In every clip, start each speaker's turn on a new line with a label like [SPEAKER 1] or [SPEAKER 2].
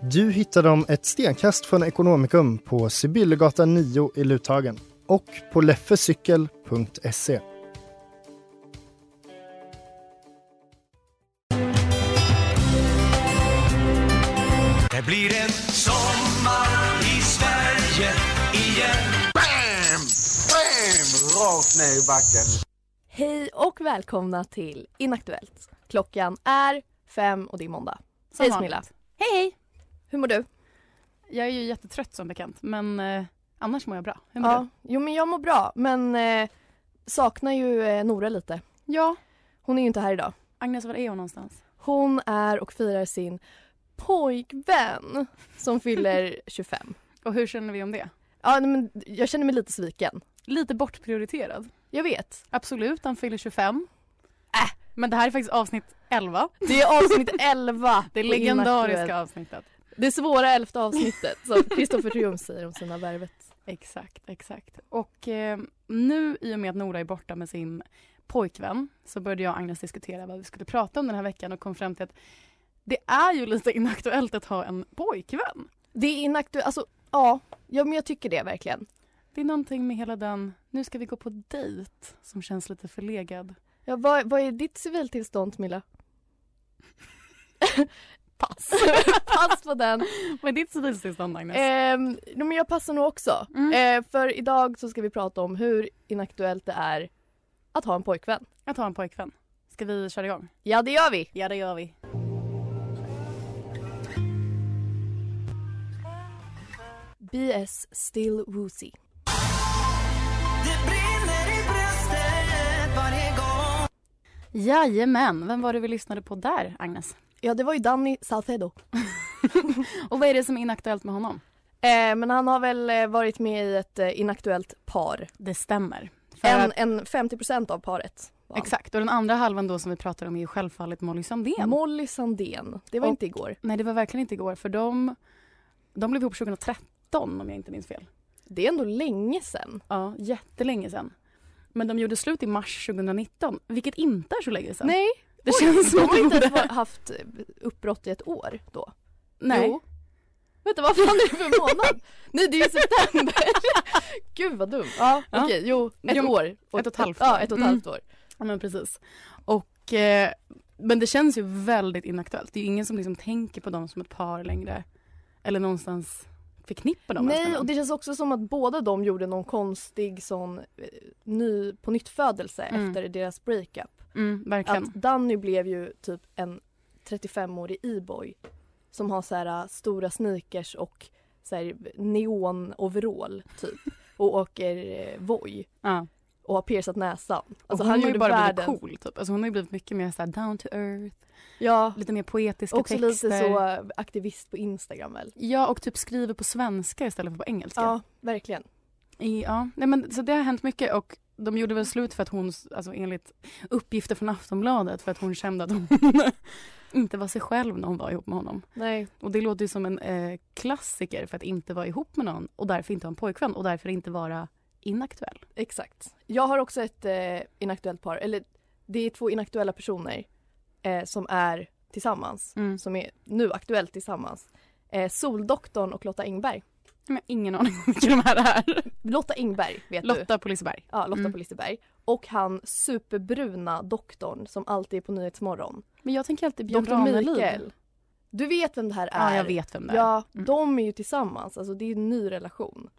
[SPEAKER 1] Du hittar dem ett stenkast från Ekonomikum på Sibyllegatan 9 i Luthagen och på leffecykel.se.
[SPEAKER 2] Det blir en sommar i Sverige igen Bam! Bam! Rakt ner i backen.
[SPEAKER 3] Hej och välkomna till Inaktuellt. Klockan är fem och det är måndag.
[SPEAKER 4] Som
[SPEAKER 3] Hej
[SPEAKER 4] vanligt.
[SPEAKER 3] Smilla,
[SPEAKER 4] Hej hej!
[SPEAKER 3] hur mår du?
[SPEAKER 4] Jag är ju jättetrött som bekant men eh, annars mår jag bra. Hur mår du?
[SPEAKER 3] Jo men jag mår bra men eh, saknar ju eh, Nora lite.
[SPEAKER 4] Ja,
[SPEAKER 3] Hon är ju inte här idag.
[SPEAKER 4] Agnes var är hon någonstans?
[SPEAKER 3] Hon är och firar sin pojkvän som fyller 25.
[SPEAKER 4] Och hur känner vi om det?
[SPEAKER 3] Ja nej, men jag känner mig lite sviken.
[SPEAKER 4] Lite bortprioriterad.
[SPEAKER 3] Jag vet.
[SPEAKER 4] Absolut, han fyller 25. Äh, men det här är faktiskt avsnitt 11.
[SPEAKER 3] Det är avsnitt 11.
[SPEAKER 4] Det
[SPEAKER 3] på
[SPEAKER 4] legendariska
[SPEAKER 3] Inaktuellt.
[SPEAKER 4] avsnittet.
[SPEAKER 3] Det svåra elfte avsnittet som Kristoffer Triumf säger om sina värvet.
[SPEAKER 4] Exakt, exakt. Och eh, nu i och med att Nora är borta med sin pojkvän så började jag och Agnes diskutera vad vi skulle prata om den här veckan och kom fram till att det är ju lite inaktuellt att ha en pojkvän.
[SPEAKER 3] Det är inaktuellt, alltså ja. ja men jag tycker det verkligen.
[SPEAKER 4] Det är någonting med hela den, nu ska vi gå på dejt, som känns lite förlegad.
[SPEAKER 3] Ja, vad, vad är ditt civiltillstånd Milla?
[SPEAKER 4] Pass.
[SPEAKER 3] Pass på den.
[SPEAKER 4] Vad är ditt civiltillstånd Agnes?
[SPEAKER 3] Ehm, nej, men jag passar nog också.
[SPEAKER 4] Mm.
[SPEAKER 3] Ehm, för idag så ska vi prata om hur inaktuellt det är att ha en pojkvän.
[SPEAKER 4] Att ha en pojkvän. Ska vi köra igång?
[SPEAKER 3] Ja det gör vi.
[SPEAKER 4] Ja det gör vi.
[SPEAKER 3] BS Still Woozy.
[SPEAKER 4] Jajamän, vem var det vi lyssnade på där Agnes?
[SPEAKER 3] Ja det var ju Danny Saucedo.
[SPEAKER 4] Och vad är det som är inaktuellt med honom?
[SPEAKER 3] Ehm, men han har väl eh, varit med i ett eh, inaktuellt par.
[SPEAKER 4] Det stämmer. För
[SPEAKER 3] En,
[SPEAKER 4] att,
[SPEAKER 3] en 50 av paret. var han.
[SPEAKER 4] exakt, och den andra halvan då som vi pratar om är ju självfallet Molly Sandén.
[SPEAKER 3] Molly Sandén. Det var
[SPEAKER 4] Och-
[SPEAKER 3] inte igår.
[SPEAKER 4] Nej det var verkligen inte igår för de, de blev ihop 2013 om jag inte minns fel.
[SPEAKER 3] Det är ändå länge sedan.
[SPEAKER 4] Ja, jättelänge sedan. Men de gjorde slut i mars 2019, vilket inte är så länge sedan.
[SPEAKER 3] Nej,
[SPEAKER 4] Det
[SPEAKER 3] de
[SPEAKER 4] känns som att
[SPEAKER 3] har
[SPEAKER 4] det
[SPEAKER 3] inte
[SPEAKER 4] borde...
[SPEAKER 3] ens var- haft uppbrott i ett år då.
[SPEAKER 4] Nej.
[SPEAKER 3] Jo. Vänta vad fan är det för månad? Nej det är ju september. Gud vad dum. Ja,
[SPEAKER 4] Ja.
[SPEAKER 3] Okej, jo ett
[SPEAKER 4] Jo,
[SPEAKER 3] år.
[SPEAKER 4] ett och ett halvt
[SPEAKER 3] Ja,
[SPEAKER 4] år.
[SPEAKER 3] ett och ett
[SPEAKER 4] Mm.
[SPEAKER 3] halvt år.
[SPEAKER 4] Ja, men precis. Och, eh, men det känns ju väldigt inaktuellt. Det är ju ingen som liksom tänker på dem som ett par längre. Eller någonstans förknippar dem ens med
[SPEAKER 3] Nej
[SPEAKER 4] dem.
[SPEAKER 3] och det känns också som att båda de gjorde någon konstig sån eh, ny på nytt födelse
[SPEAKER 4] Mm.
[SPEAKER 3] efter deras breakup.
[SPEAKER 4] Mm, verkligen.
[SPEAKER 3] Att Danny blev ju typ en 35-årig e-boy som har så här eh, stora sneakers och så här neon-overall typ och åker eh, Voi
[SPEAKER 4] Ja.
[SPEAKER 3] och har piercat näsan.
[SPEAKER 4] Och
[SPEAKER 3] Alltså
[SPEAKER 4] hon
[SPEAKER 3] han
[SPEAKER 4] har ju
[SPEAKER 3] gjorde
[SPEAKER 4] bara
[SPEAKER 3] världen.
[SPEAKER 4] blivit cool. Typ. Alltså, hon har ju blivit mycket mer så här down to earth,
[SPEAKER 3] Ja.
[SPEAKER 4] lite mer poetiska
[SPEAKER 3] Också
[SPEAKER 4] texter.
[SPEAKER 3] lite så äh, aktivist på Instagram väl?
[SPEAKER 4] Ja, och typ skriver på svenska istället för på engelska.
[SPEAKER 3] Ja, verkligen.
[SPEAKER 4] I, ja. Nej, men, så det har hänt mycket och de gjorde väl slut för att hon, alltså enligt uppgifter från Aftonbladet, för att hon kände att hon inte var sig själv när hon var ihop med honom.
[SPEAKER 3] Nej.
[SPEAKER 4] Och det låter ju som en eh, klassiker för att inte vara ihop med någon och därför inte ha en pojkvän och därför inte vara inaktuell.
[SPEAKER 3] Exakt. Jag har också ett eh, inaktuellt par, eller det är två inaktuella personer eh, som är tillsammans,
[SPEAKER 4] Mm.
[SPEAKER 3] som är nu aktuellt tillsammans. Eh, Soldoktorn och Lotta Engberg.
[SPEAKER 4] Men jag har ingen aning om vilka de här är.
[SPEAKER 3] Lotta Engberg vet du?
[SPEAKER 4] Lotta på Liseberg.
[SPEAKER 3] Ja, Lotta
[SPEAKER 4] Mm.
[SPEAKER 3] på Liseberg. Och han superbruna doktorn som alltid är på Nyhetsmorgon.
[SPEAKER 4] Men jag tänker alltid Björn
[SPEAKER 3] Doktor
[SPEAKER 4] Ranelid.
[SPEAKER 3] Mikael. Du vet vem det här är?
[SPEAKER 4] Ja, jag vet vem det är.
[SPEAKER 3] Ja,
[SPEAKER 4] Mm.
[SPEAKER 3] de är ju tillsammans. Alltså det är ju en ny relation.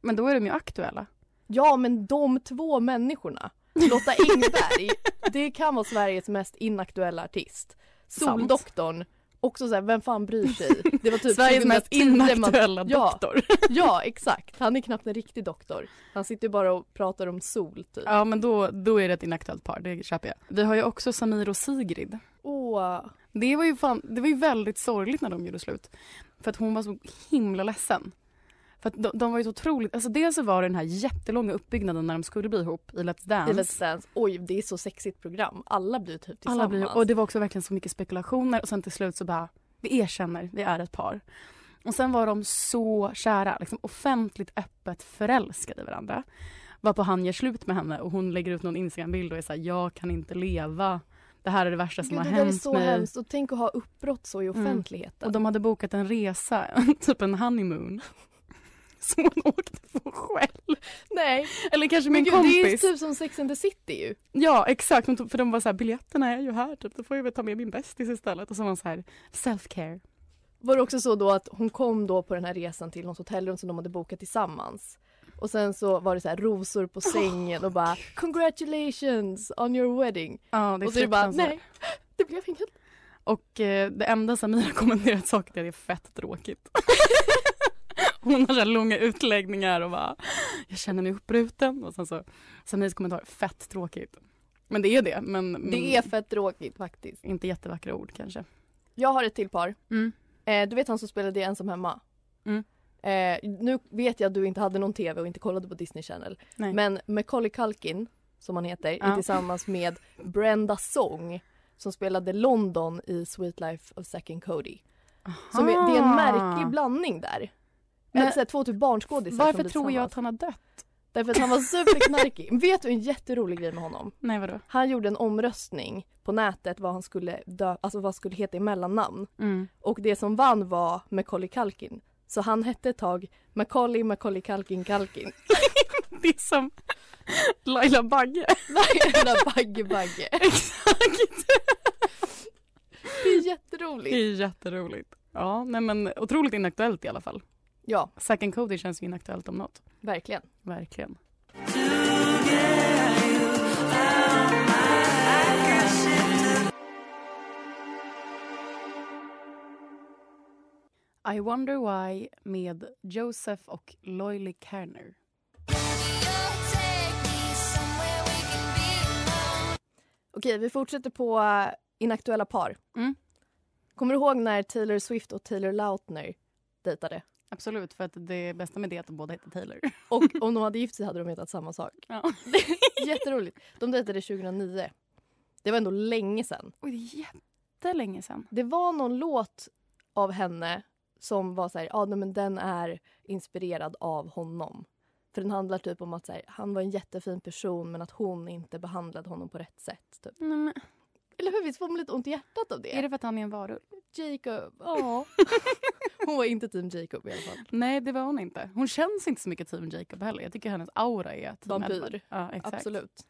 [SPEAKER 4] Men då är de ju aktuella.
[SPEAKER 3] Ja, men de två människorna. Lotta Engberg, det kan vara Sveriges mest inaktuella artist. Soldoktorn, också så här, vem fan bryr sig? Det var typ
[SPEAKER 4] Sveriges mest
[SPEAKER 3] 2010 man-
[SPEAKER 4] inaktuella
[SPEAKER 3] Ja.
[SPEAKER 4] doktor.
[SPEAKER 3] Ja, exakt. Han är knappt en riktig doktor. Han sitter ju bara och pratar om sol typ.
[SPEAKER 4] Ja, men då, då är det ett inaktuellt par, det köper jag. Vi har ju också Samir och Sigrid.
[SPEAKER 3] Åh,
[SPEAKER 4] Det var ju, fan, det var ju väldigt sorgligt när de gjorde slut. För att hon var så himla ledsen. För att de, de var ju så otroligt, alltså dels så var det den här jättelånga uppbyggnaden när de skulle bli ihop i Let's Dance.
[SPEAKER 3] i Let's Dance. Oj, det är så sexigt program. Alla blir typ tillsammans.
[SPEAKER 4] Alla blir, och det var också verkligen så mycket spekulationer och sen till slut så bara, vi erkänner, vi är ett par. Och sen var de så kära, liksom offentligt öppet förälskade i varandra. Varpå han gör slut med henne och hon lägger ut någon Instagram-bild och är såhär, jag kan inte leva. Det här är det värsta som
[SPEAKER 3] Gud,
[SPEAKER 4] har
[SPEAKER 3] det där är
[SPEAKER 4] hänt
[SPEAKER 3] så
[SPEAKER 4] mig.
[SPEAKER 3] hemskt. Och tänk att ha uppbrott så i
[SPEAKER 4] Mm.
[SPEAKER 3] offentligheten.
[SPEAKER 4] Och de hade bokat en resa, typ en honeymoon. Som hon åkte på själv.
[SPEAKER 3] Nej,
[SPEAKER 4] Eller kanske med
[SPEAKER 3] men
[SPEAKER 4] en
[SPEAKER 3] gud, det är
[SPEAKER 4] kompis.
[SPEAKER 3] typ som Sex and the City ju.
[SPEAKER 4] Ja exakt, Hon tog- för de var så här, biljetterna är ju här typ, då får jag väl ta med min bästis istället. Och så var hon så här, self-care.
[SPEAKER 3] var det också så då att hon kom då på den här resan till något hotellrum som de hade bokat tillsammans. Och sen så var det så här rosor på sängen och bara congratulations on your wedding.
[SPEAKER 4] Ja, det är
[SPEAKER 3] och så är det bara
[SPEAKER 4] fruktansvärt.
[SPEAKER 3] nej, det blev inget.
[SPEAKER 4] Och eh, det enda Samir har kommenterat saker till är fett tråkigt. Hon har så här långa utläggningar och bara, jag känner mig uppbruten. Och sen så, Samirs kommentar, fett tråkigt. Men det är det, men, men
[SPEAKER 3] Det är fett tråkigt faktiskt.
[SPEAKER 4] inte jättevackra ord kanske.
[SPEAKER 3] Jag har ett till par.
[SPEAKER 4] Mm.
[SPEAKER 3] Eh, du vet han som spelade i Ensam hemma?
[SPEAKER 4] Mm.
[SPEAKER 3] Eh, nu vet jag att du inte hade någon tv och inte kollade på Disney Channel.
[SPEAKER 4] Nej.
[SPEAKER 3] Men Macaulay Culkin, som han heter, är
[SPEAKER 4] Ja.
[SPEAKER 3] tillsammans med Brenda Song som spelade London i Sweet Life of Zack and Cody. Så vi- det är en märklig blandning där.
[SPEAKER 4] Ah. Men-
[SPEAKER 3] Eller så här, två typ barnskådisar som liksom
[SPEAKER 4] Varför
[SPEAKER 3] blir
[SPEAKER 4] tror jag
[SPEAKER 3] tillsammans.
[SPEAKER 4] att han har dött?
[SPEAKER 3] Därför att han var superknarkig. Vet du en jätterolig grej med honom?
[SPEAKER 4] Nej vadå?
[SPEAKER 3] Han gjorde en omröstning på nätet vad han skulle dö, alltså vad skulle heta i mellannamn. Och det som vann var Macaulay Culkin. Så han hette ett tag Macaulay Macaulay Culkin Culkin.
[SPEAKER 4] Det är som Laila Bagge.
[SPEAKER 3] Jävla bagge bagge.
[SPEAKER 4] Exakt.
[SPEAKER 3] Det är
[SPEAKER 4] Det
[SPEAKER 3] jätteroligt.
[SPEAKER 4] är jätteroligt. Ja, nej men otroligt inaktuellt i alla fall.
[SPEAKER 3] Ja,
[SPEAKER 4] Zack and Cody känns ju inaktuellt om något.
[SPEAKER 3] verkligen.
[SPEAKER 4] Verkligen. I Wonder Why med Joseph och Loily Kerner.
[SPEAKER 3] Okej, vi fortsätter på eh, inaktuella par.
[SPEAKER 4] Mm.
[SPEAKER 3] Kommer du ihåg när Taylor Swift och Taylor Lautner dejtade?
[SPEAKER 4] Absolut, för att det bästa med det är att de båda heter Taylor.
[SPEAKER 3] Och om de hade gift sig hade de hetat samma sak.
[SPEAKER 4] Ja.
[SPEAKER 3] Jätteroligt. De dejtade 2009. Det var ändå länge sedan.
[SPEAKER 4] Oj, det är jättelänge sedan.
[SPEAKER 3] Det var någon låt av henne som var så här, ja nej, men den är inspirerad av honom. För den handlar typ om att så här, han var en jättefin person men att hon inte behandlade honom på rätt sätt. Typ.
[SPEAKER 4] Nej, men,
[SPEAKER 3] Eller hur? Visst får man lite ont i hjärtat av det?
[SPEAKER 4] är det för att han är en varulv?
[SPEAKER 3] Jacob? Ja. hon var inte team Jacob i alla fall.
[SPEAKER 4] Nej, det var hon inte. Hon känns inte så mycket Team Jacob heller. Jag tycker hennes aura är Team
[SPEAKER 3] Vampyr.
[SPEAKER 4] Edward. Ja, exakt.
[SPEAKER 3] Absolut.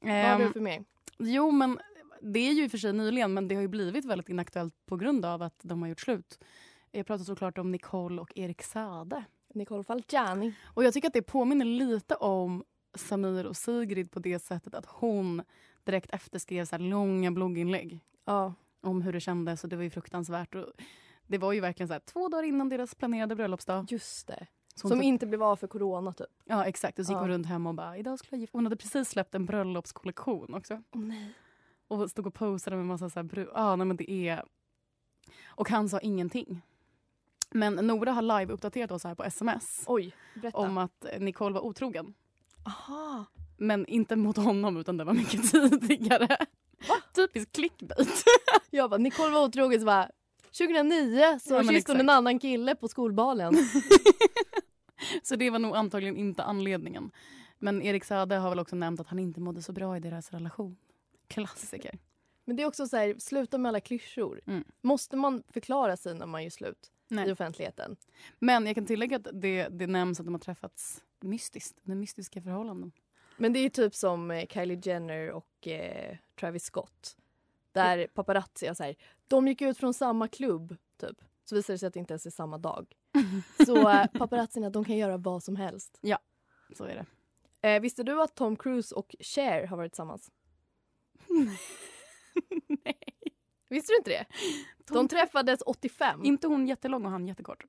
[SPEAKER 3] Vad har
[SPEAKER 4] Ehm,
[SPEAKER 3] du för mig?
[SPEAKER 4] Jo, men det är ju i och för sig nyligen, men det har ju blivit väldigt inaktuellt på grund av att de har gjort slut. Jag pratar såklart om Nicole och Erik Sade.
[SPEAKER 3] Nicole Falciani.
[SPEAKER 4] Och jag tycker att det påminner lite om Samir och Sigrid på det sättet att hon direkt efter skrev så här långa blogginlägg
[SPEAKER 3] Ja.
[SPEAKER 4] om hur det kändes och det var ju fruktansvärt. Och det var ju verkligen så här två dagar innan deras planerade bröllopsdag.
[SPEAKER 3] Just det.
[SPEAKER 4] Så hon
[SPEAKER 3] Som
[SPEAKER 4] tog-
[SPEAKER 3] inte blev av för corona typ.
[SPEAKER 4] Ja, exakt. Och så gick hon
[SPEAKER 3] Ja.
[SPEAKER 4] runt hem och bara, idag skulle jag gifta Hon hade precis släppt en bröllopskollektion också.
[SPEAKER 3] Åh nej.
[SPEAKER 4] Och stod och posade med massa så här bru- ah, nej men det är... Och han sa ingenting. Men Nora har live-uppdaterat oss här på sms
[SPEAKER 3] Oj, berätta.
[SPEAKER 4] om att Nicole var otrogen.
[SPEAKER 3] Aha.
[SPEAKER 4] Men inte mot honom, utan det var mycket tidigare. Typisk clickbait.
[SPEAKER 3] Jag bara, Nicole var otrogen så bara 2009 så
[SPEAKER 4] Ja, men
[SPEAKER 3] kysste hon
[SPEAKER 4] exakt.
[SPEAKER 3] en annan kille på skolbalen.
[SPEAKER 4] så det var nog antagligen inte anledningen. Men Erik Saade har väl också nämnt att han inte mådde så bra i deras relation. Klassiker.
[SPEAKER 3] Men det är också så här, sluta med alla klyschor.
[SPEAKER 4] Mm.
[SPEAKER 3] Måste man förklara sig när man gör slut
[SPEAKER 4] Nej.
[SPEAKER 3] i offentligheten?
[SPEAKER 4] Men jag kan tillägga att det, det nämns att de har träffats mystiskt, under mystiska förhållanden.
[SPEAKER 3] Men det är typ som eh, Kylie Jenner och eh, Travis Scott. Där paparazzi har så här, de gick ut från samma klubb typ. Så visar det sig att det inte ens är samma dag. Så eh, paparazzierna de kan göra vad som helst.
[SPEAKER 4] Så är det.
[SPEAKER 3] Eh, visste du att Tom Cruise och Cher har varit tillsammans?
[SPEAKER 4] Nej.
[SPEAKER 3] Visste du inte det? De träffades 85.
[SPEAKER 4] Inte hon jättelång och han jättekort?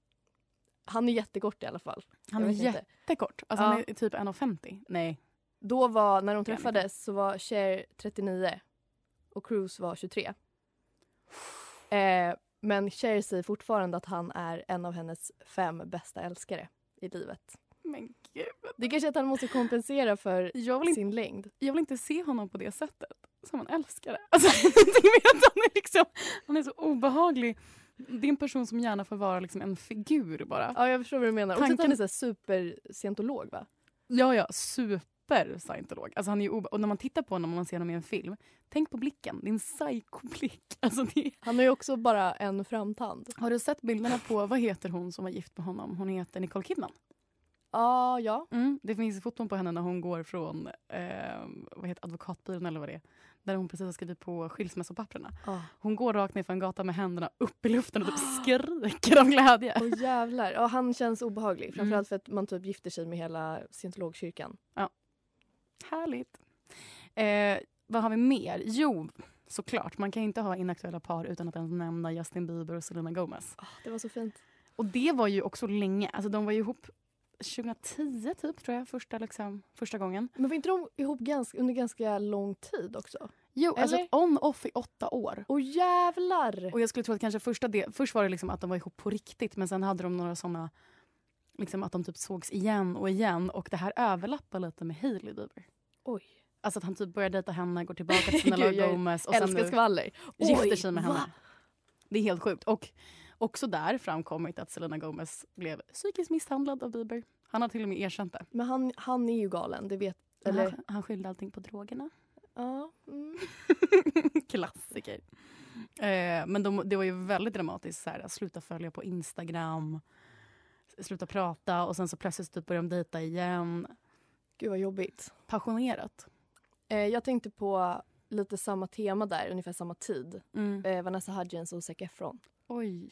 [SPEAKER 3] Han är jättekort i alla fall.
[SPEAKER 4] Han
[SPEAKER 3] Jag
[SPEAKER 4] är
[SPEAKER 3] vet inte.
[SPEAKER 4] jättekort. Alltså han
[SPEAKER 3] Ja.
[SPEAKER 4] är typ 1,50. Nej.
[SPEAKER 3] Då var, när de
[SPEAKER 4] Kan inte.
[SPEAKER 3] träffades så var Cher 39 och Cruise var 23. Eh, men Cher säger fortfarande att han är en av hennes fem bästa älskare i livet.
[SPEAKER 4] Men gud.
[SPEAKER 3] Det är kanske är att han måste kompensera för
[SPEAKER 4] Jag vill, inte,
[SPEAKER 3] sin längd.
[SPEAKER 4] jag vill inte se honom på det sättet. Som en älskare. Alltså, det vet han, är liksom, han är så obehaglig. Det är en person som gärna får vara liksom en figur bara.
[SPEAKER 3] Ja, jag förstår vad du menar. Och sen
[SPEAKER 4] Tanken-
[SPEAKER 3] att han är så här superscientolog, va?
[SPEAKER 4] Ja, ja. Super scientolog. Alltså, han är ju obe- och när man tittar på honom och man ser honom i en film, tänk på blicken. Det är en psykoblick. Alltså, det är
[SPEAKER 3] Han har ju också bara en framtand.
[SPEAKER 4] Har du sett bilderna på, vad heter hon som var gift med honom? Hon heter Nicole Kidman.
[SPEAKER 3] Ah, ja,
[SPEAKER 4] Det finns foton på henne när hon går från eh, vad heter advokatbyrån eller vad det är. Där hon precis har skrivit på skilsmässopapperna.
[SPEAKER 3] Ah.
[SPEAKER 4] Hon går rakt ner för en gata med händerna upp i luften och typ skriker av glädje.
[SPEAKER 3] Åh jävlar. Ja, han känns
[SPEAKER 4] Mm.
[SPEAKER 3] obehaglig. Framförallt för att man typ gifter sig med hela scientologkyrkan.
[SPEAKER 4] Härligt. Eh, vad har vi mer? Jo, såklart. Man kan ju inte ha inaktuella par utan att ens nämna Justin Bieber och Selena Gomez.
[SPEAKER 3] Ah, det var så fint.
[SPEAKER 4] Och det var ju också länge. Alltså de var ju ihop 2010 typ tror jag, första, liksom, första gången.
[SPEAKER 3] Men var inte de ihop ganska, under ganska lång tid också?
[SPEAKER 4] Jo, alltså
[SPEAKER 3] Eller?
[SPEAKER 4] on-off i åtta år.
[SPEAKER 3] Åh jävlar!
[SPEAKER 4] Och jag skulle tro att kanske första del, först var det liksom att de var ihop på riktigt men sen hade de några såna liksom att de typ sågs igen och igen och det här överlappar lite med Hailey Bieber.
[SPEAKER 3] Oj.
[SPEAKER 4] Alltså att han typ börjar dejta henne, går tillbaka till sina
[SPEAKER 3] Gud, jag
[SPEAKER 4] Gomez och sen
[SPEAKER 3] Älskar
[SPEAKER 4] nu
[SPEAKER 3] skvaller.
[SPEAKER 4] gifter sig med
[SPEAKER 3] va?
[SPEAKER 4] henne. Det är helt sjukt. Och också där framkommit att Selena Gomez blev psykiskt misshandlad av Bieber. Han har till och med erkänt det.
[SPEAKER 3] Men han, han är ju galen, det vet... Eller?
[SPEAKER 4] Han, han skyllde allting på drogerna.
[SPEAKER 3] Ja. Mm.
[SPEAKER 4] Klassiker. Eh, men de, det var ju väldigt dramatiskt. Så här, att sluta följa på Instagram, s- sluta prata och sen så plötsligt typ börjar de dejta igen.
[SPEAKER 3] Gud vad jobbigt.
[SPEAKER 4] Passionerat.
[SPEAKER 3] Eh, jag tänkte på lite samma tema där, ungefär samma tid.
[SPEAKER 4] Eh,
[SPEAKER 3] Eh, Vanessa Hudgens och Zac Efron.
[SPEAKER 4] Oj.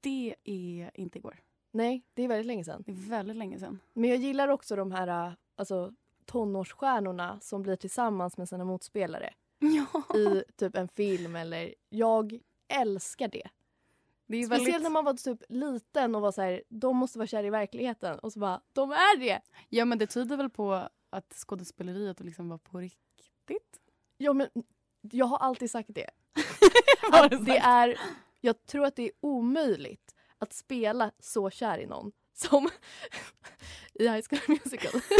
[SPEAKER 4] Det är inte igår.
[SPEAKER 3] Nej, det är väldigt länge sedan.
[SPEAKER 4] Det är väldigt länge sedan.
[SPEAKER 3] Men jag gillar också de här eh, alltså, tonårsstjärnorna som blir tillsammans med sina motspelare
[SPEAKER 4] Ja.
[SPEAKER 3] i typ en film eller... Jag älskar det.
[SPEAKER 4] Det är
[SPEAKER 3] Speciellt
[SPEAKER 4] väldigt...
[SPEAKER 3] när man var typ liten och var så här, de måste vara kära i verkligheten. Och så bara, de är det!
[SPEAKER 4] Ja, men det tyder väl på att skådespeleriet liksom var på riktigt.
[SPEAKER 3] Ja, men jag har alltid sagt det.
[SPEAKER 4] Har du
[SPEAKER 3] Att det
[SPEAKER 4] sagt?
[SPEAKER 3] är, jag tror att det är omöjligt att spela så kär i någon som i High School Musical.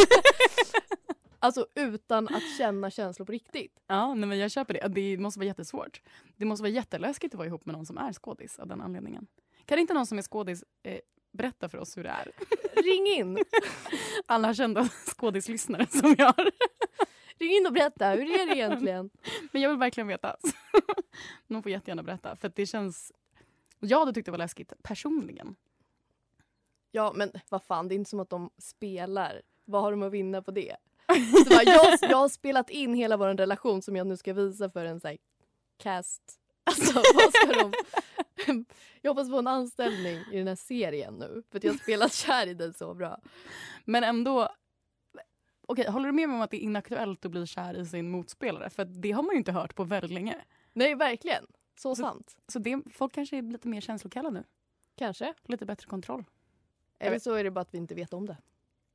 [SPEAKER 3] alltså utan att känna känslor på riktigt.
[SPEAKER 4] Ja, nej, men jag köper det. Det måste vara jättesvårt. Det måste vara jätteläskigt att vara ihop med någon som är skådis av den anledningen. Kan inte någon som är skådis eh, berätta för oss hur det är?
[SPEAKER 3] Ring in!
[SPEAKER 4] alla kända skådislyssnare som jag har.
[SPEAKER 3] Ring in och berätta, hur är det egentligen?
[SPEAKER 4] Men jag vill verkligen veta. Någon får jättegärna berätta. För att det känns... Jag hade tyckt det var läskigt personligen.
[SPEAKER 3] Ja, men vad fan, det är inte som att de spelar. Vad har de att vinna på det? Så bara, jag, jag har spelat in hela vår relation som jag nu ska visa för en så här, cast. Alltså, vad ska de... Jag hoppas på en anställning i den här serien nu för att jag har spelat kär i den så bra.
[SPEAKER 4] Men ändå... Okej, håller du med mig om att det är inaktuellt att bli kär i sin motspelare? För att det har man ju inte hört på väldigt länge.
[SPEAKER 3] Nej, verkligen. Så sant.
[SPEAKER 4] Så det, folk kanske är lite mer känslokalla nu.
[SPEAKER 3] Kanske.
[SPEAKER 4] Lite bättre kontroll.
[SPEAKER 3] Eller så är det bara att vi inte vet om det.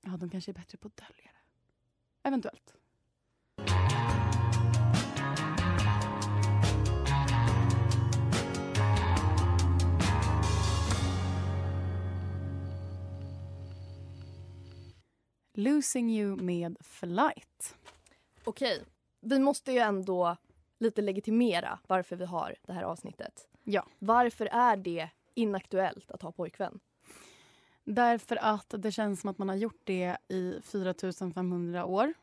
[SPEAKER 4] Ja, de kanske är bättre på att dölja det. Eventuellt. Losing you med flight.
[SPEAKER 3] Okej, vi måste ju ändå lite legitimera varför vi har det här avsnittet.
[SPEAKER 4] Ja.
[SPEAKER 3] Varför är det inaktuellt att ha pojkvän?
[SPEAKER 4] Därför att det känns som att man har gjort det i 4500 år.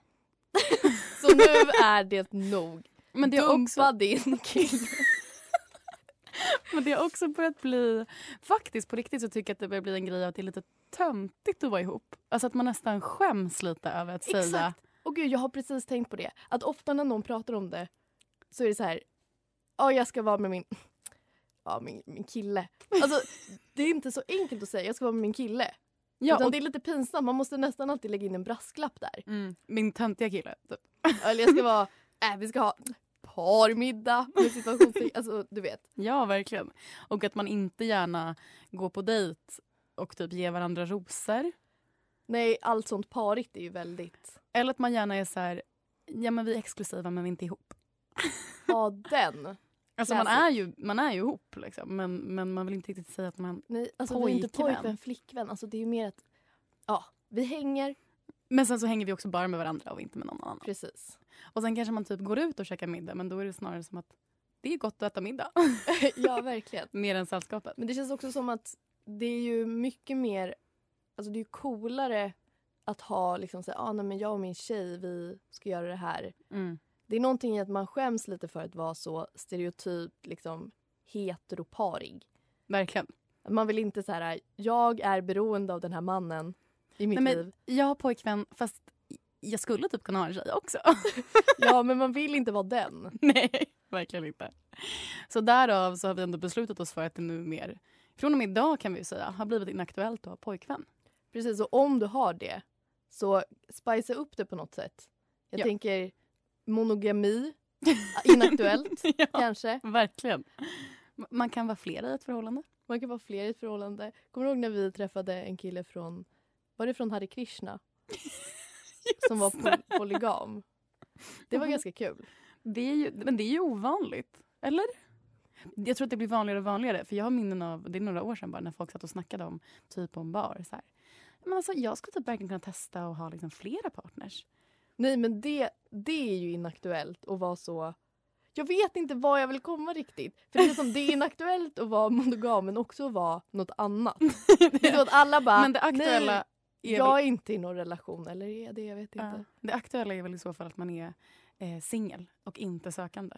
[SPEAKER 3] Så nu är det nog.
[SPEAKER 4] Men det har
[SPEAKER 3] Dumpa
[SPEAKER 4] också
[SPEAKER 3] din kille.
[SPEAKER 4] Men det har också börjat bli... Faktiskt på riktigt så tycker jag att det börjar bli en grej att det är lite töntigt att vara ihop. Alltså att man nästan skäms lite över att säga...
[SPEAKER 3] Exakt. Och gud, jag har precis tänkt på det. Att ofta när någon pratar om det så är det så här. ja jag ska vara med min, ja, min, min kille. Alltså, det är inte så enkelt att säga jag ska vara med min kille.
[SPEAKER 4] Ja,
[SPEAKER 3] Utan
[SPEAKER 4] och,
[SPEAKER 3] det är lite pinsamt, man måste nästan alltid lägga in en brasklapp där.
[SPEAKER 4] mm, min töntiga kille. typ.
[SPEAKER 3] Eller jag ska vara, äh, vi ska ha parmiddag. Med situationstecken. alltså du vet.
[SPEAKER 4] Ja, verkligen. Och att man inte gärna går på dejt och typ ger varandra rosor.
[SPEAKER 3] Nej, allt sånt parigt är ju väldigt...
[SPEAKER 4] Eller att man gärna är så här, ja men vi är exklusiva men vi är inte ihop.
[SPEAKER 3] Ja, den.
[SPEAKER 4] Alltså man
[SPEAKER 3] Classic.
[SPEAKER 4] är, ju, man är ju ihop liksom, men, men man vill inte riktigt säga att man...
[SPEAKER 3] Nej, alltså det är inte
[SPEAKER 4] Pojkvän.
[SPEAKER 3] pojkvän, flickvän. Alltså det är ju mer att, ja, vi hänger.
[SPEAKER 4] Men sen så hänger vi också bara med varandra och inte med någon annan.
[SPEAKER 3] Precis.
[SPEAKER 4] Och sen kanske man typ går ut och käkar middag men då är det snarare som att det är gott att äta middag.
[SPEAKER 3] ja, verkligen.
[SPEAKER 4] Mer än sällskapet.
[SPEAKER 3] Men det känns också som att det är ju mycket mer, alltså det är ju coolare att ha liksom såhär, ah, nej men jag och min tjej vi ska göra det här.
[SPEAKER 4] Mm.
[SPEAKER 3] Det är någonting i att man skäms lite för att vara så stereotypt liksom heteroparig.
[SPEAKER 4] Verkligen.
[SPEAKER 3] Man vill inte så här, jag är beroende av den här mannen i mitt
[SPEAKER 4] Nej, men
[SPEAKER 3] liv.
[SPEAKER 4] jag har pojkvän fast jag skulle typ kunna ha en tjej också.
[SPEAKER 3] Ja, men man vill inte vara den.
[SPEAKER 4] Nej, verkligen inte. Så därav så har vi ändå beslutat oss för att det nu mer, från och med idag kan vi ju säga, har blivit inaktuellt att ha pojkvän.
[SPEAKER 3] Precis, och om du har det, så spicea upp det på något sätt. Jag
[SPEAKER 4] Ja.
[SPEAKER 3] tänker monogami, inaktuellt
[SPEAKER 4] ja,
[SPEAKER 3] kanske.
[SPEAKER 4] verkligen. M- Man kan vara flera i ett förhållande.
[SPEAKER 3] Man kan vara fler i ett förhållande. Kommer du ihåg när vi träffade en kille från, var det från Hare Krishna? Som var pol- polygam. Det var
[SPEAKER 4] Mhm.
[SPEAKER 3] ganska kul.
[SPEAKER 4] Det är ju, men det är ju ovanligt, eller? Jag tror att det blir vanligare och vanligare. För jag har minnen av, det är några år sedan bara, när folk satt och snackade om typ om bar. Så här. Men alltså, jag skulle typ verkligen kunna testa att ha liksom flera partners.
[SPEAKER 3] Nej men det, det är ju inaktuellt att vara så... Jag vet inte vad jag vill komma riktigt. För det är, som, det är inaktuellt att vara monogam men också att vara något annat. Det är så att alla bara,
[SPEAKER 4] men det aktuella,
[SPEAKER 3] nej,
[SPEAKER 4] är
[SPEAKER 3] jag är inte i någon relation. Eller är jag det? Jag vet inte.
[SPEAKER 4] ja, det aktuella är väl i så fall att man är eh, singel och inte sökande.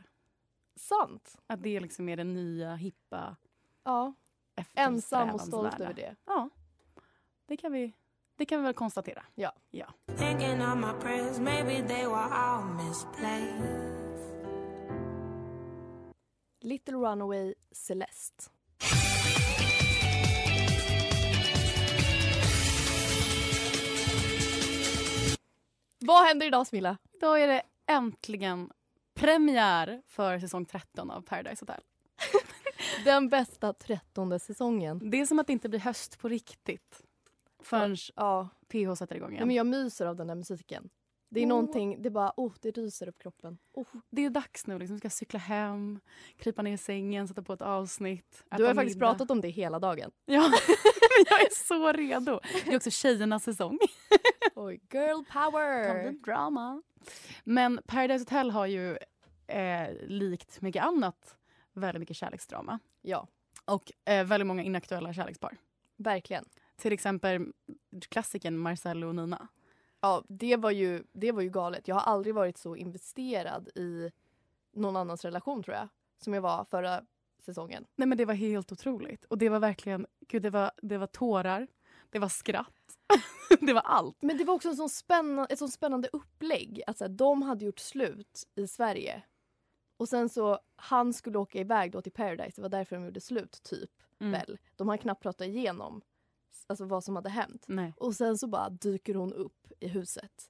[SPEAKER 3] Sant.
[SPEAKER 4] Att det liksom är den nya, hippa,
[SPEAKER 3] Ja. Ensam och stolt över det.
[SPEAKER 4] Ja, det kan vi, det kan vi väl konstatera.
[SPEAKER 3] Ja.
[SPEAKER 4] ja.
[SPEAKER 5] Thinking of my prayers, maybe they were all misplaced.
[SPEAKER 3] Little Runaway Celeste. Vad händer idag Smilla?
[SPEAKER 4] Idag är det äntligen premiär för säsong 13 av Paradise Hotel.
[SPEAKER 3] Den bästa trettonde säsongen.
[SPEAKER 4] Det är som att det inte blir höst på riktigt förrän
[SPEAKER 3] Ja.
[SPEAKER 4] PH sätter igång
[SPEAKER 3] Nej,
[SPEAKER 4] igen.
[SPEAKER 3] men jag myser av den där musiken. Det är
[SPEAKER 4] Åh.
[SPEAKER 3] någonting, det är bara, oh, det ryser upp kroppen. Oh.
[SPEAKER 4] Det är dags nu. Liksom. Vi ska cykla hem, krypa ner i sängen, sätta på ett avsnitt.
[SPEAKER 3] Du har
[SPEAKER 4] äta
[SPEAKER 3] ju faktiskt
[SPEAKER 4] middag.
[SPEAKER 3] pratat om det hela dagen.
[SPEAKER 4] Ja, men jag är så redo. Det är också tjejernas säsong.
[SPEAKER 3] Oj, girl
[SPEAKER 4] Kan
[SPEAKER 3] power!
[SPEAKER 4] bli drama. Men Paradise Hotel har ju eh, likt mycket annat väldigt mycket kärleksdrama.
[SPEAKER 3] Ja,
[SPEAKER 4] Och eh, väldigt många inaktuella kärlekspar.
[SPEAKER 3] verkligen.
[SPEAKER 4] Till exempel klassiken Marcello och Nina.
[SPEAKER 3] Ja, det var, ju, det var ju galet. Jag har aldrig varit så investerad i någon annans relation tror jag, som jag var förra säsongen.
[SPEAKER 4] Nej men det var helt otroligt. Och det var verkligen, gud det var, det var tårar, det var skratt, det var allt.
[SPEAKER 3] Men det var också en sån spänna, ett sånt spännande upplägg. Att så här, de hade gjort slut i Sverige. Och sen så, han skulle åka iväg då till Paradise. Det var därför de gjorde slut, typ.
[SPEAKER 4] Mm.
[SPEAKER 3] Väl. De har knappt pratat igenom s- alltså, vad som hade hänt.
[SPEAKER 4] Nej.
[SPEAKER 3] Och sen så bara dyker hon upp i huset.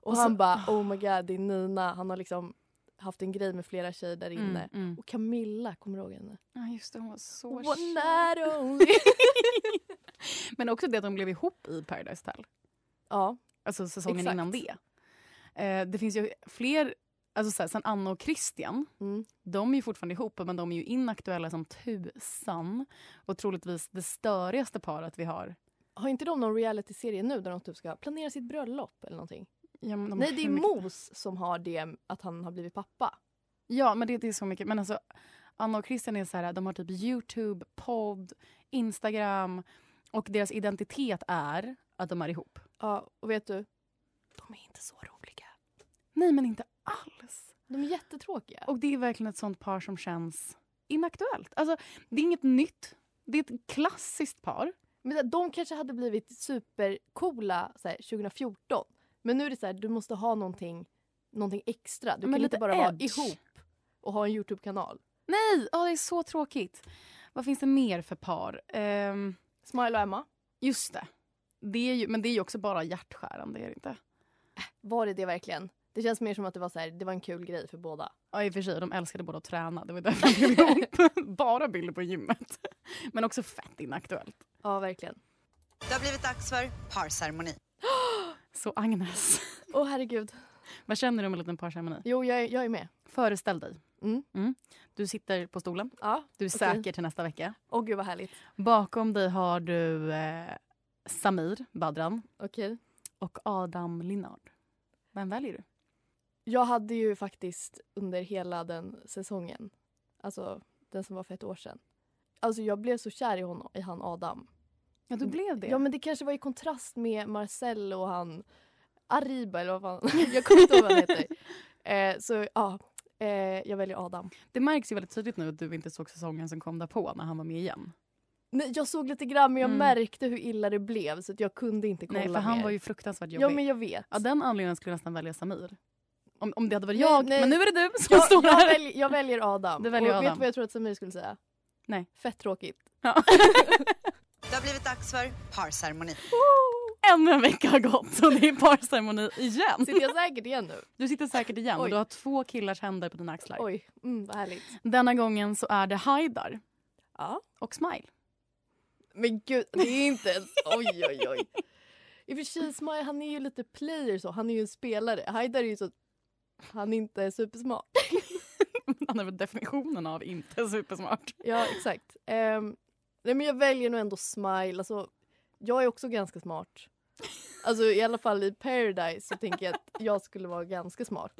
[SPEAKER 3] Och,
[SPEAKER 4] Och så-
[SPEAKER 3] han bara, oh my god, det är Nina. Han har liksom haft en grej med flera tjejer där inne.
[SPEAKER 4] Mm, mm.
[SPEAKER 3] Och Camilla, kommer du ihåg henne?
[SPEAKER 4] Ja just det, hon var så
[SPEAKER 3] One
[SPEAKER 4] kär.
[SPEAKER 3] night only.
[SPEAKER 4] Men också det att de blev ihop i Paradise Hotel.
[SPEAKER 3] ja,
[SPEAKER 4] Alltså säsongen
[SPEAKER 3] Exakt.
[SPEAKER 4] innan det. Eh, det finns ju fler, alltså så här, sen Anna och Christian,
[SPEAKER 3] Mm.
[SPEAKER 4] de är ju fortfarande ihop men de är ju inaktuella som tusan. Och troligtvis det störigaste paret vi har.
[SPEAKER 3] har inte de någon reality-serie nu där de typ ska planera sitt bröllop eller någonting?
[SPEAKER 4] Ja, men de
[SPEAKER 3] Nej,
[SPEAKER 4] har
[SPEAKER 3] det är
[SPEAKER 4] hur mycket-
[SPEAKER 3] Mos som har det att han har blivit pappa.
[SPEAKER 4] Ja, men det, det är så mycket. Men alltså, Anna och Christian är så här, de har typ Youtube, podd, Instagram och deras identitet är att de är ihop.
[SPEAKER 3] Ja, och vet du? De är inte så roliga.
[SPEAKER 4] Nej, men inte alls.
[SPEAKER 3] De är jättetråkiga.
[SPEAKER 4] Och det är verkligen ett sånt par som känns inaktuellt. Alltså, det är inget nytt. Det är ett klassiskt par.
[SPEAKER 3] Men så här, de kanske hade blivit supercoola så här, 2014. Men nu är det så här, du måste ha någonting, någonting extra. Du
[SPEAKER 4] Men
[SPEAKER 3] kan
[SPEAKER 4] lite
[SPEAKER 3] inte bara vara
[SPEAKER 4] edge.
[SPEAKER 3] ihop och ha en Youtube-kanal.
[SPEAKER 4] Nej, åh, det är så tråkigt. Vad finns det mer för par? Ehm,
[SPEAKER 3] Smile och Emma.
[SPEAKER 4] just det. det är ju, men det är ju också bara hjärtskärande, är det inte?
[SPEAKER 3] Var det det verkligen? Det känns mer som att det var så här, det var en kul grej för båda.
[SPEAKER 4] Ja, i och för sig, de älskade båda att träna. Det var därför de blev ihop. bara bilder på gymmet. Men också fett inaktuellt.
[SPEAKER 3] Ja, verkligen.
[SPEAKER 6] Det har blivit dags för parceremoni.
[SPEAKER 4] Så Agnes,
[SPEAKER 3] Åh herregud.
[SPEAKER 4] vad känner du om en liten parceremoni?
[SPEAKER 3] Jo, jag, är- jag är med.
[SPEAKER 4] Föreställ dig.
[SPEAKER 3] Mm.
[SPEAKER 4] Du sitter på stolen.
[SPEAKER 3] Ja.
[SPEAKER 4] Du är
[SPEAKER 3] Okej.
[SPEAKER 4] säker till nästa vecka.
[SPEAKER 3] Åh gud vad härligt.
[SPEAKER 4] Bakom dig har du eh, Samir Badran
[SPEAKER 3] Okej.
[SPEAKER 4] och Adam Linnard. Vem väljer du?
[SPEAKER 3] Jag hade ju faktiskt under hela den säsongen, alltså den som var för ett år sedan. Alltså jag blev så kär i, honom, i han Adam.
[SPEAKER 4] Ja, du blev det.
[SPEAKER 3] Ja men det kanske var i kontrast med Marcel och han Ariba eller vad fan, jag kommer inte ihåg vad han heter. Eh, så ja, eh, jag väljer Adam.
[SPEAKER 4] Det märks ju väldigt tydligt nu att du inte såg säsongen som kom därpå när han var med igen.
[SPEAKER 3] Nej, jag såg lite grann men jag
[SPEAKER 4] Mm.
[SPEAKER 3] märkte hur illa det blev så att jag kunde inte kolla
[SPEAKER 4] Nej, för han
[SPEAKER 3] mer.
[SPEAKER 4] var ju fruktansvärt jobbig.
[SPEAKER 3] Ja men jag vet.
[SPEAKER 4] Av den anledningen skulle jag nästan välja Samir. Om, om det hade varit
[SPEAKER 3] Nej,
[SPEAKER 4] jag,
[SPEAKER 3] nej.
[SPEAKER 4] men nu är det du som
[SPEAKER 3] jag,
[SPEAKER 4] står
[SPEAKER 3] jag,
[SPEAKER 4] här.
[SPEAKER 3] väljer, jag väljer Adam.
[SPEAKER 4] Du väljer
[SPEAKER 3] och vet
[SPEAKER 4] Adam.
[SPEAKER 3] du vad jag tror att Samir skulle säga?
[SPEAKER 4] Nej.
[SPEAKER 3] Fett tråkigt.
[SPEAKER 4] Ja.
[SPEAKER 6] Det har blivit dags för parceremoni.
[SPEAKER 4] Ännu en vecka har gått och det är parceremoni igen.
[SPEAKER 3] Sitter jag säkert igen nu?
[SPEAKER 4] Du sitter säkert igen och
[SPEAKER 3] Oj.
[SPEAKER 4] du har två killars händer på dina axlar.
[SPEAKER 3] Oj, mm, vad härligt.
[SPEAKER 4] Denna gången så är det Haidar
[SPEAKER 3] Ja.
[SPEAKER 4] och Smile.
[SPEAKER 3] Men gud, det är inte ens... Oj, oj, oj. I och för sig, Smile, han är ju lite player så. Han är ju en spelare. Haidar är ju så... Han är inte supersmart.
[SPEAKER 4] Han är väl definitionen av inte supersmart.
[SPEAKER 3] Ja, exakt. Ehm, nej, men jag väljer nog ändå Smile. Alltså, jag är också ganska smart. Alltså i alla fall i Paradise så tänker jag att jag skulle vara ganska smart.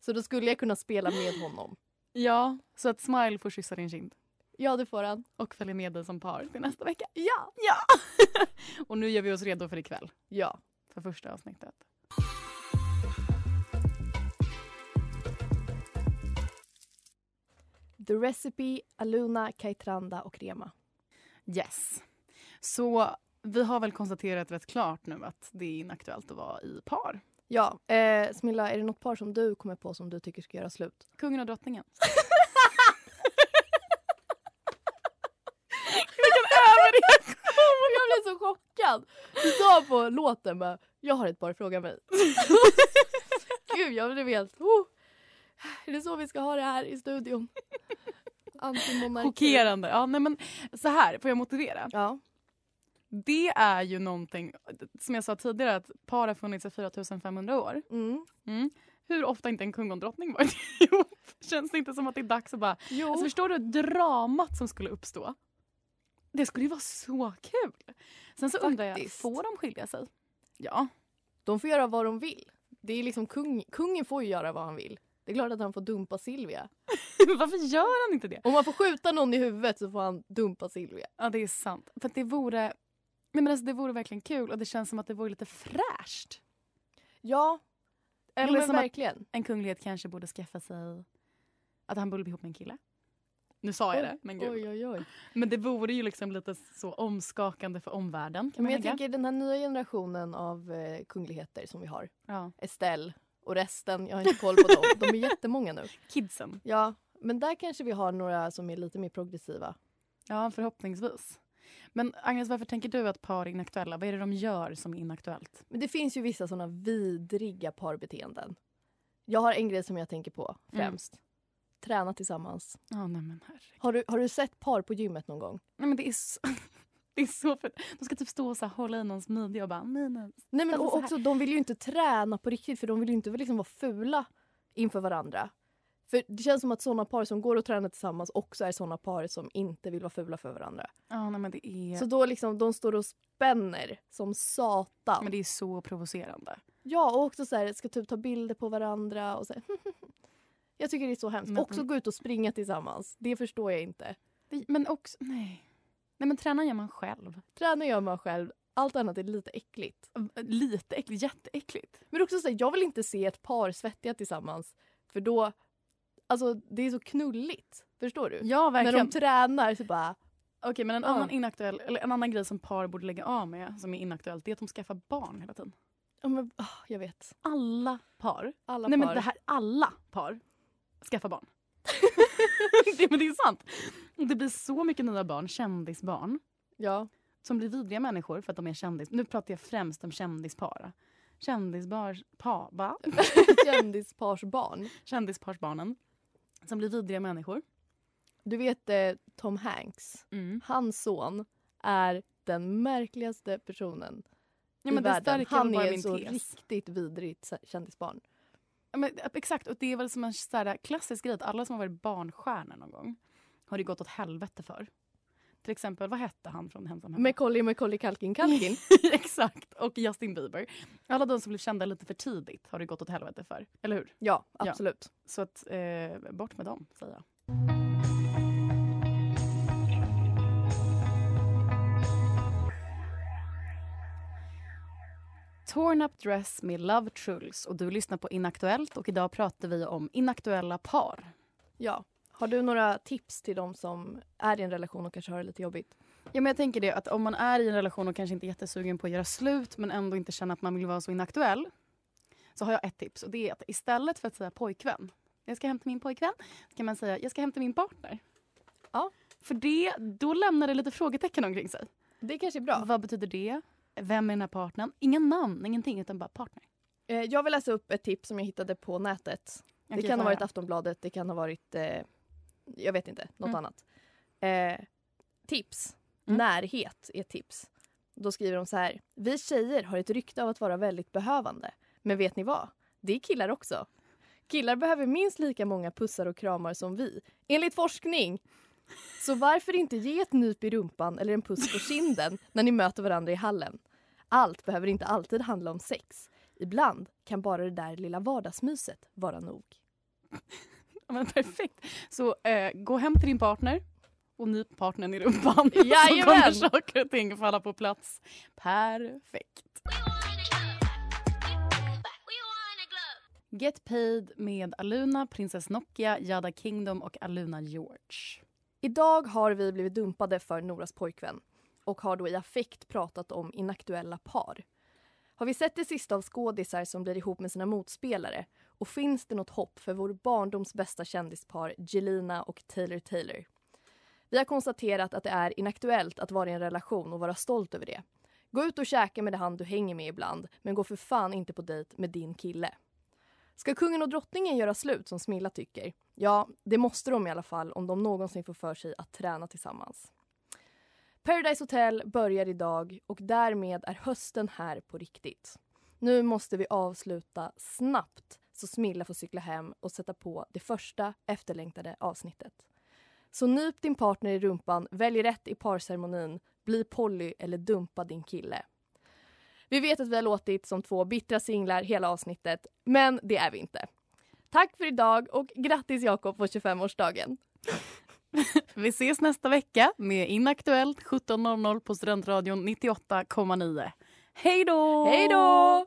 [SPEAKER 3] Så då skulle jag kunna spela med honom.
[SPEAKER 4] Ja, så att Smile får kyssa din kind
[SPEAKER 3] Ja, det får han.
[SPEAKER 4] och följer med dig som par till nästa vecka.
[SPEAKER 3] Ja!
[SPEAKER 4] Och nu gör vi oss redo för ikväll,
[SPEAKER 3] Ja.
[SPEAKER 4] för första avsnittet.
[SPEAKER 3] The Recipe, Aluna, Kaitranda och Rema.
[SPEAKER 4] Yes. Så vi har väl konstaterat rätt klart nu att det är inaktuellt att vara i par.
[SPEAKER 3] Ja, eh, Smilla, är det något par som du kommer på som du tycker ska göra slut?
[SPEAKER 4] Kungen och drottningen.
[SPEAKER 3] Jag blev så chockad! Du sa på låten bara, jag har ett par, fråga mig. Gud, jag blev helt... Oh. Är det så vi ska ha det här i studion? Antimonarki.
[SPEAKER 4] Chockerande. Ja, nej men så här, får jag motivera?
[SPEAKER 3] Ja.
[SPEAKER 4] Det är ju någonting, som jag sa tidigare, att par har funnits i 4500 år.
[SPEAKER 3] Mm.
[SPEAKER 4] Hur ofta har inte en kung och en drottning varit ihop? Känns det inte som att det är dags att bara...
[SPEAKER 3] Jo.
[SPEAKER 4] Alltså förstår du dramat som skulle uppstå? Det skulle ju vara så kul! Sen så undrar jag,
[SPEAKER 3] Faktiskt.
[SPEAKER 4] får de skilja sig? Ja.
[SPEAKER 3] De får göra vad de vill. Det är liksom kung, kungen får ju göra vad han vill. Det är klart att han får dumpa Silvia.
[SPEAKER 4] Varför gör han inte det?
[SPEAKER 3] Om man får skjuta någon i huvudet så får han dumpa Silvia.
[SPEAKER 4] Ja, det är sant. För att det vore... Nej, men alltså, det vore verkligen kul och det känns som att det vore lite fräscht.
[SPEAKER 3] Ja, jo,
[SPEAKER 4] Eller
[SPEAKER 3] men
[SPEAKER 4] som att
[SPEAKER 3] verkligen.
[SPEAKER 4] en kunglighet kanske borde skaffa sig... Att han borde bli ihop med en kille. Nu sa jag det, men gud.
[SPEAKER 3] Oj, oj, oj.
[SPEAKER 4] Men det vore ju liksom lite så omskakande för omvärlden. Kan
[SPEAKER 3] Men
[SPEAKER 4] man
[SPEAKER 3] jag
[SPEAKER 4] tänka.
[SPEAKER 3] tänker den här nya generationen av eh, kungligheter som vi har.
[SPEAKER 4] Ja.
[SPEAKER 3] Estelle och resten, jag har inte koll på dem. De är jättemånga nu.
[SPEAKER 4] Kidsen.
[SPEAKER 3] Ja, men där kanske vi har några som är lite mer progressiva.
[SPEAKER 4] Ja, förhoppningsvis. Men Agnes, varför tänker du att par är inaktuella? Vad är det de gör som är inaktuellt?
[SPEAKER 3] Men det finns ju vissa såna vidriga parbeteenden. Jag har en grej som jag tänker på främst. Träna tillsammans.
[SPEAKER 4] Ja, nej men herregud.
[SPEAKER 3] Har du, har du sett par på gymmet någon gång?
[SPEAKER 4] Nej men det är så... Det är så för... De ska typ stå och så här, hålla i någons midja och bara nej, nej.
[SPEAKER 3] Nej men
[SPEAKER 4] Alltså,
[SPEAKER 3] och
[SPEAKER 4] så här-
[SPEAKER 3] också, de vill ju inte träna på riktigt för de vill ju inte liksom vara fula inför varandra. För det känns som att såna par som går och tränar tillsammans också är såna par som inte vill vara fula för varandra.
[SPEAKER 4] Ja, nej men det är...
[SPEAKER 3] Så då liksom, de står och spänner som satan.
[SPEAKER 4] Men det är så provocerande.
[SPEAKER 3] Ja, och också så här, ska typ ta bilder på varandra och så här. Jag tycker det är så hemskt.
[SPEAKER 4] Men-
[SPEAKER 3] också gå ut och springa tillsammans. Det förstår jag inte.
[SPEAKER 4] Det- Men också, nej. Nej men träna gör man själv.
[SPEAKER 3] Träna gör man själv. Allt annat är lite äckligt.
[SPEAKER 4] Mm, Lite äckligt, jätteäckligt.
[SPEAKER 3] Men också så här, jag vill inte se ett par svettiga tillsammans. För då, alltså det är så knulligt. Förstår du?
[SPEAKER 4] Ja,
[SPEAKER 3] När
[SPEAKER 4] verkligen.
[SPEAKER 3] de tränar så bara,
[SPEAKER 4] Okej, men en
[SPEAKER 3] Ja.
[SPEAKER 4] annan, inaktuell, eller en annan grej som par borde lägga av med som är inaktuellt, det är att de skaffar barn hela tiden.
[SPEAKER 3] ja men ah, jag vet.
[SPEAKER 4] Alla par.
[SPEAKER 3] Alla
[SPEAKER 4] Nej,
[SPEAKER 3] par.
[SPEAKER 4] men det här, alla par skaffar barn. det, men det är sant. Det blir så mycket nya barn, kändisbarn.
[SPEAKER 3] Ja.
[SPEAKER 4] Som blir vidriga människor för att de är kändis. Nu pratar jag främst om kändispar. Kändispar... Pa, va?
[SPEAKER 3] Kändisparsbarn.
[SPEAKER 4] Kändisparsbarnen. Som blir vidriga människor.
[SPEAKER 3] Du vet eh, Tom Hanks? Hans son är den märkligaste personen
[SPEAKER 4] Ja,
[SPEAKER 3] i
[SPEAKER 4] men det
[SPEAKER 3] världen.
[SPEAKER 4] stärker
[SPEAKER 3] Han
[SPEAKER 4] bara
[SPEAKER 3] är
[SPEAKER 4] min
[SPEAKER 3] så
[SPEAKER 4] tes.
[SPEAKER 3] riktigt vidrigt sa- kändisbarn.
[SPEAKER 4] Ja, men, exakt, och det är väl som en så här klassisk grej att alla som har varit barnstjärnor någon gång har det gått åt helvete för. Till exempel, vad hette han från Hemsam hemma?
[SPEAKER 3] Macaulay Macaulay Kalkin Kalkin.
[SPEAKER 4] exakt, och Justin Bieber. Alla de som blev kända lite för tidigt har det gått åt helvete för, eller hur?
[SPEAKER 3] Ja, absolut.
[SPEAKER 4] Så att, eh, bort med dem, säger jag. Torn Up Dress med Love Trulls och du lyssnar på Inaktuellt och idag pratar vi om inaktuella par.
[SPEAKER 3] Ja. Har du några tips till de som är i en relation och kanske har det lite jobbigt?
[SPEAKER 4] Ja, men jag tänker det att om man är i en relation och kanske inte är jättesugen på att göra slut men ändå inte känner att man vill vara så inaktuell så har jag ett tips och det är att istället för att säga pojkvän, jag ska hämta min pojkvän, så kan man säga jag ska hämta min partner.
[SPEAKER 3] Ja.
[SPEAKER 4] För det, då lämnar det lite frågetecken omkring sig.
[SPEAKER 3] Det kanske är bra.
[SPEAKER 4] Vad betyder det? Vem är den här partnern? Ingen namn, ingenting utan bara partner.
[SPEAKER 3] Eh, Jag vill läsa upp ett tips som jag hittade på nätet.
[SPEAKER 4] Okej,
[SPEAKER 3] det kan
[SPEAKER 4] få
[SPEAKER 3] ha varit
[SPEAKER 4] höra.
[SPEAKER 3] Aftonbladet, det kan ha varit... Eh, jag vet inte, något
[SPEAKER 4] Mm.
[SPEAKER 3] annat. Eh, tips. Närhet är ett tips. Då skriver de så här. Vi tjejer har ett rykte av att vara väldigt behövande. Men vet ni vad? Det är killar också. Killar behöver minst lika många pussar och kramar som vi, enligt forskning. Så varför inte ge ett nyp i rumpan eller en puss på kinden när ni möter varandra i hallen? Allt behöver inte alltid handla om sex. Ibland kan bara det där lilla vardagsmyset vara nog.
[SPEAKER 4] Ja, Men perfekt. Så eh, gå hem till din partner och nyp partnern i rumpan. Så
[SPEAKER 3] Jajamän.
[SPEAKER 4] kommer saker och ting falla på plats. Perfekt. Get Paid med Aluna, Princess Nokia, Jada Kingdom och Aluna George.
[SPEAKER 3] Idag har vi blivit dumpade för Noras pojkvän och har då i affekt pratat om inaktuella par. Har vi sett det sista av skådisar som blir ihop med sina motspelare? Och finns det något hopp för vår barndoms bästa kändispar Jelena och Taylor Taylor? Vi har konstaterat att det är inaktuellt att vara i en relation och vara stolt över det. Gå ut och käka med det han du hänger med ibland, men gå för fan inte på dejt med din kille. Ska kungen och drottningen göra slut som Smilla tycker? Ja, det måste de i alla fall om de någonsin får för sig att träna tillsammans. Paradise Hotel börjar idag och därmed är hösten här på riktigt. Nu måste vi avsluta snabbt så Smilla får cykla hem och sätta på det första efterlängtade avsnittet. Så nyp din partner i rumpan, välj rätt i parceremonin, bli poly eller dumpa din kille. Vi vet att vi har låtit som två bittra singlar hela avsnittet, men det är vi inte. Tack för idag och grattis Jakob på 25-årsdagen.
[SPEAKER 4] Vi ses nästa vecka med Inaktuellt 17.00 på Studentradion 98,9. Hej då!
[SPEAKER 7] Hej då!